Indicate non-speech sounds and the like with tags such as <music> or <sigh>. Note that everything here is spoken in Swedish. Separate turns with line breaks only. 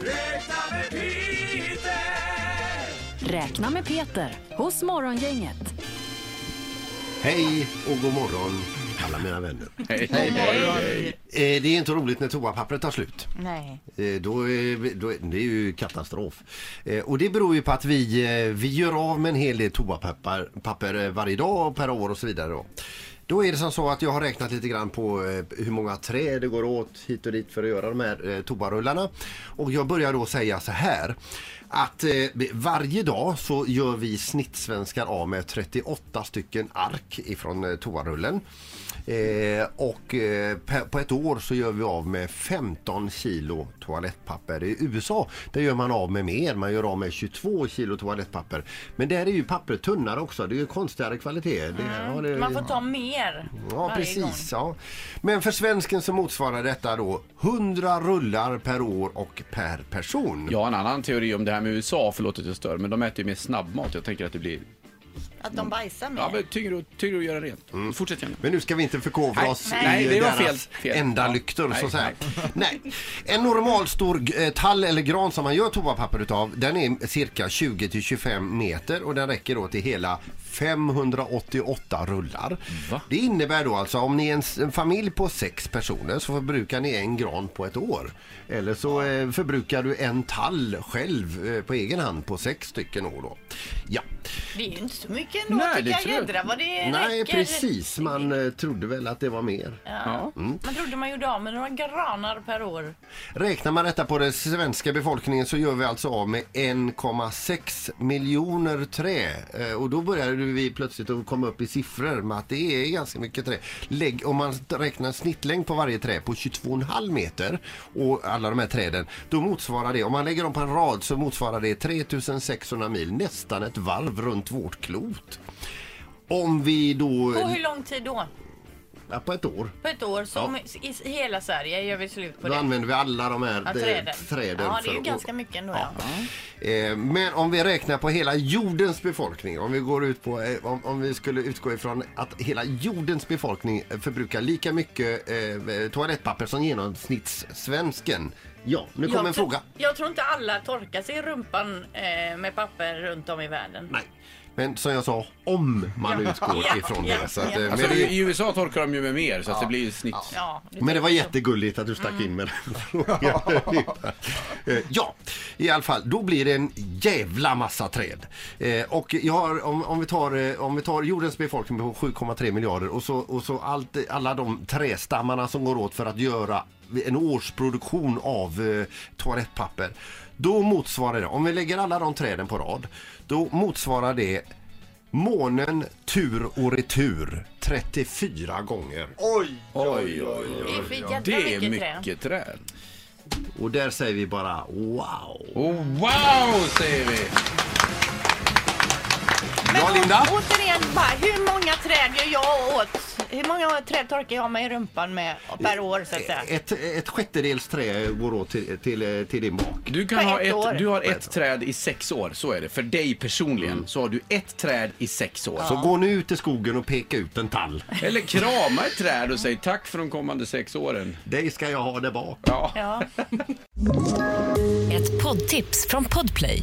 Räkna med Peter!
Räkna med Peter hos Morgongänget.
Hej och god morgon alla mina vänner. Hej, Eh, Det är inte roligt när toapappret tar slut.
Nej.
Eh, Då är, vi- då är, det är ju katastrof. Eh, Och det beror ju på att vi, eh, vi gör av med en hel del toapapper papper eh, varje dag och per år och så vidare. Då. Då är det som så att jag har räknat lite grann på eh, hur många träd det går åt hit och dit för att göra de här eh, toarullarna. Och jag börjar då säga så här att eh, varje dag så gör vi snittsvenskar av med 38 stycken ark ifrån eh, toarullen. Eh, och eh, pe- på ett år så gör vi av med 15 kilo toalettpapper. I USA där gör man av med mer, man gör av med 22 kilo toalettpapper. Men där är ju pappret tunnare också, det är ju konstigare kvalitet. Det, ja, det,
Mm, Man får ta mer
Ja, precis. Ja. Men för svensken så motsvarar detta då 100 rullar per år och per person.
Jag har en annan teori om det här med USA, förlåt att jag stör, men de äter ju mer snabbmat. Jag tänker att det blir
Att de bajsar mer.
ja, men tyngre, och, tyngre att göra rent.
Mm.
Fortsätt gärna.
Men nu ska vi inte förkovra
Nej,
oss
nej,
i
det var
deras
fel, fel.
enda
Ja,
lyktor.
nej, <laughs>
så att säga. Nej. En normal stor eh, tall eller gran som man gör toapapper utav den är cirka 20-25 meter och den räcker då till hela 588 rullar.
Va?
Det innebär då alltså om ni är en, s- en familj på sex personer så förbrukar ni en gran på ett år. Eller så eh, förbrukar du en tall själv eh, på egen hand på sex stycken år då. Ja.
Det är ju inte så mycket ändå
Nej, det
tycker
tror jag.
jag. Jädra vad det
Nej
räcker.
precis, man eh, trodde väl att det var mer.
Ja.
Man trodde man gjorde av med några granar per år.
Räknar man detta på den svenska befolkningen så gör vi alltså av med 1,6 miljoner trä. Eh, Och då börjar vi plötsligt att komma upp i siffror med att det är ganska mycket trä. Lägg, om man räknar snittlängd på varje trä på 22,5 meter och alla de här träden, då motsvarar det, om man lägger dem på en rad så motsvarar det 3600 mil, nästan ett varv runt vårt klot. Om vi då...
På hur lång tid då?
Ja, på ett år.
På ett år? Som i i hela Sverige gör vi slut på
Då
det.
använder vi alla de här
Ja,
eh,
träden.
träden
ja, det är
för
ju
att-
ganska mycket ändå. Ja.
Eh, Men om vi räknar på hela jordens befolkning, om vi, går ut på, eh, om, om vi skulle utgå ifrån att hela jordens befolkning eh, förbrukar lika mycket eh, toalettpapper som genomsnittssvensken. Ja, nu kommer en
tro-
fråga.
jag tror inte alla torkar sig i rumpan eh, med papper runt om i världen.
Nej, men som jag sa, om man utgår
<laughs> Ja,
ifrån
ja,
det. Så att, eh,
ja.
men,
Alltså,
det
I USA torkar de ju med mer, så att det blir ju snitt.
Ja,
men det var
tror jag.
jättegulligt att du stack in med den frågan. Eh, ja, i alla fall, då blir det en jävla massa träd. Eh, och jag har, om, om, vi tar, eh, om vi tar jordens befolkning på 7,3 miljarder och så, och så allt, alla de trästammarna som går åt för att göra en årsproduktion av eh, toalettpapper. Då motsvarar det, om vi lägger alla de träden på rad, då motsvarar det månen tur och retur 34 gånger.
Oj, oj, oj.
Det är för jävla
Det är
trä.
mycket träd.
Och där säger vi bara wow!
Oh, wow, säger vi!
Men
Ja, Linda?
å- återigen, bara, hur många träd gör jag åt? Hur många träd torkar jag mig i rumpan med per år så att säga?
Ett, ett sjättedels trä går åt till, till, till din bak.
Du,
På
kan ha
ett år.
ett, du har ett träd i sex år, så är det. För dig personligen
Mm.
så har du ett träd i sex år.
Så gå nu ut i skogen och peka ut en tall.
Eller krama ett träd och säg tack för de kommande sex åren.
Dig ska jag ha där bak.
Ja.
Ja.
Ett poddtips från Podplay.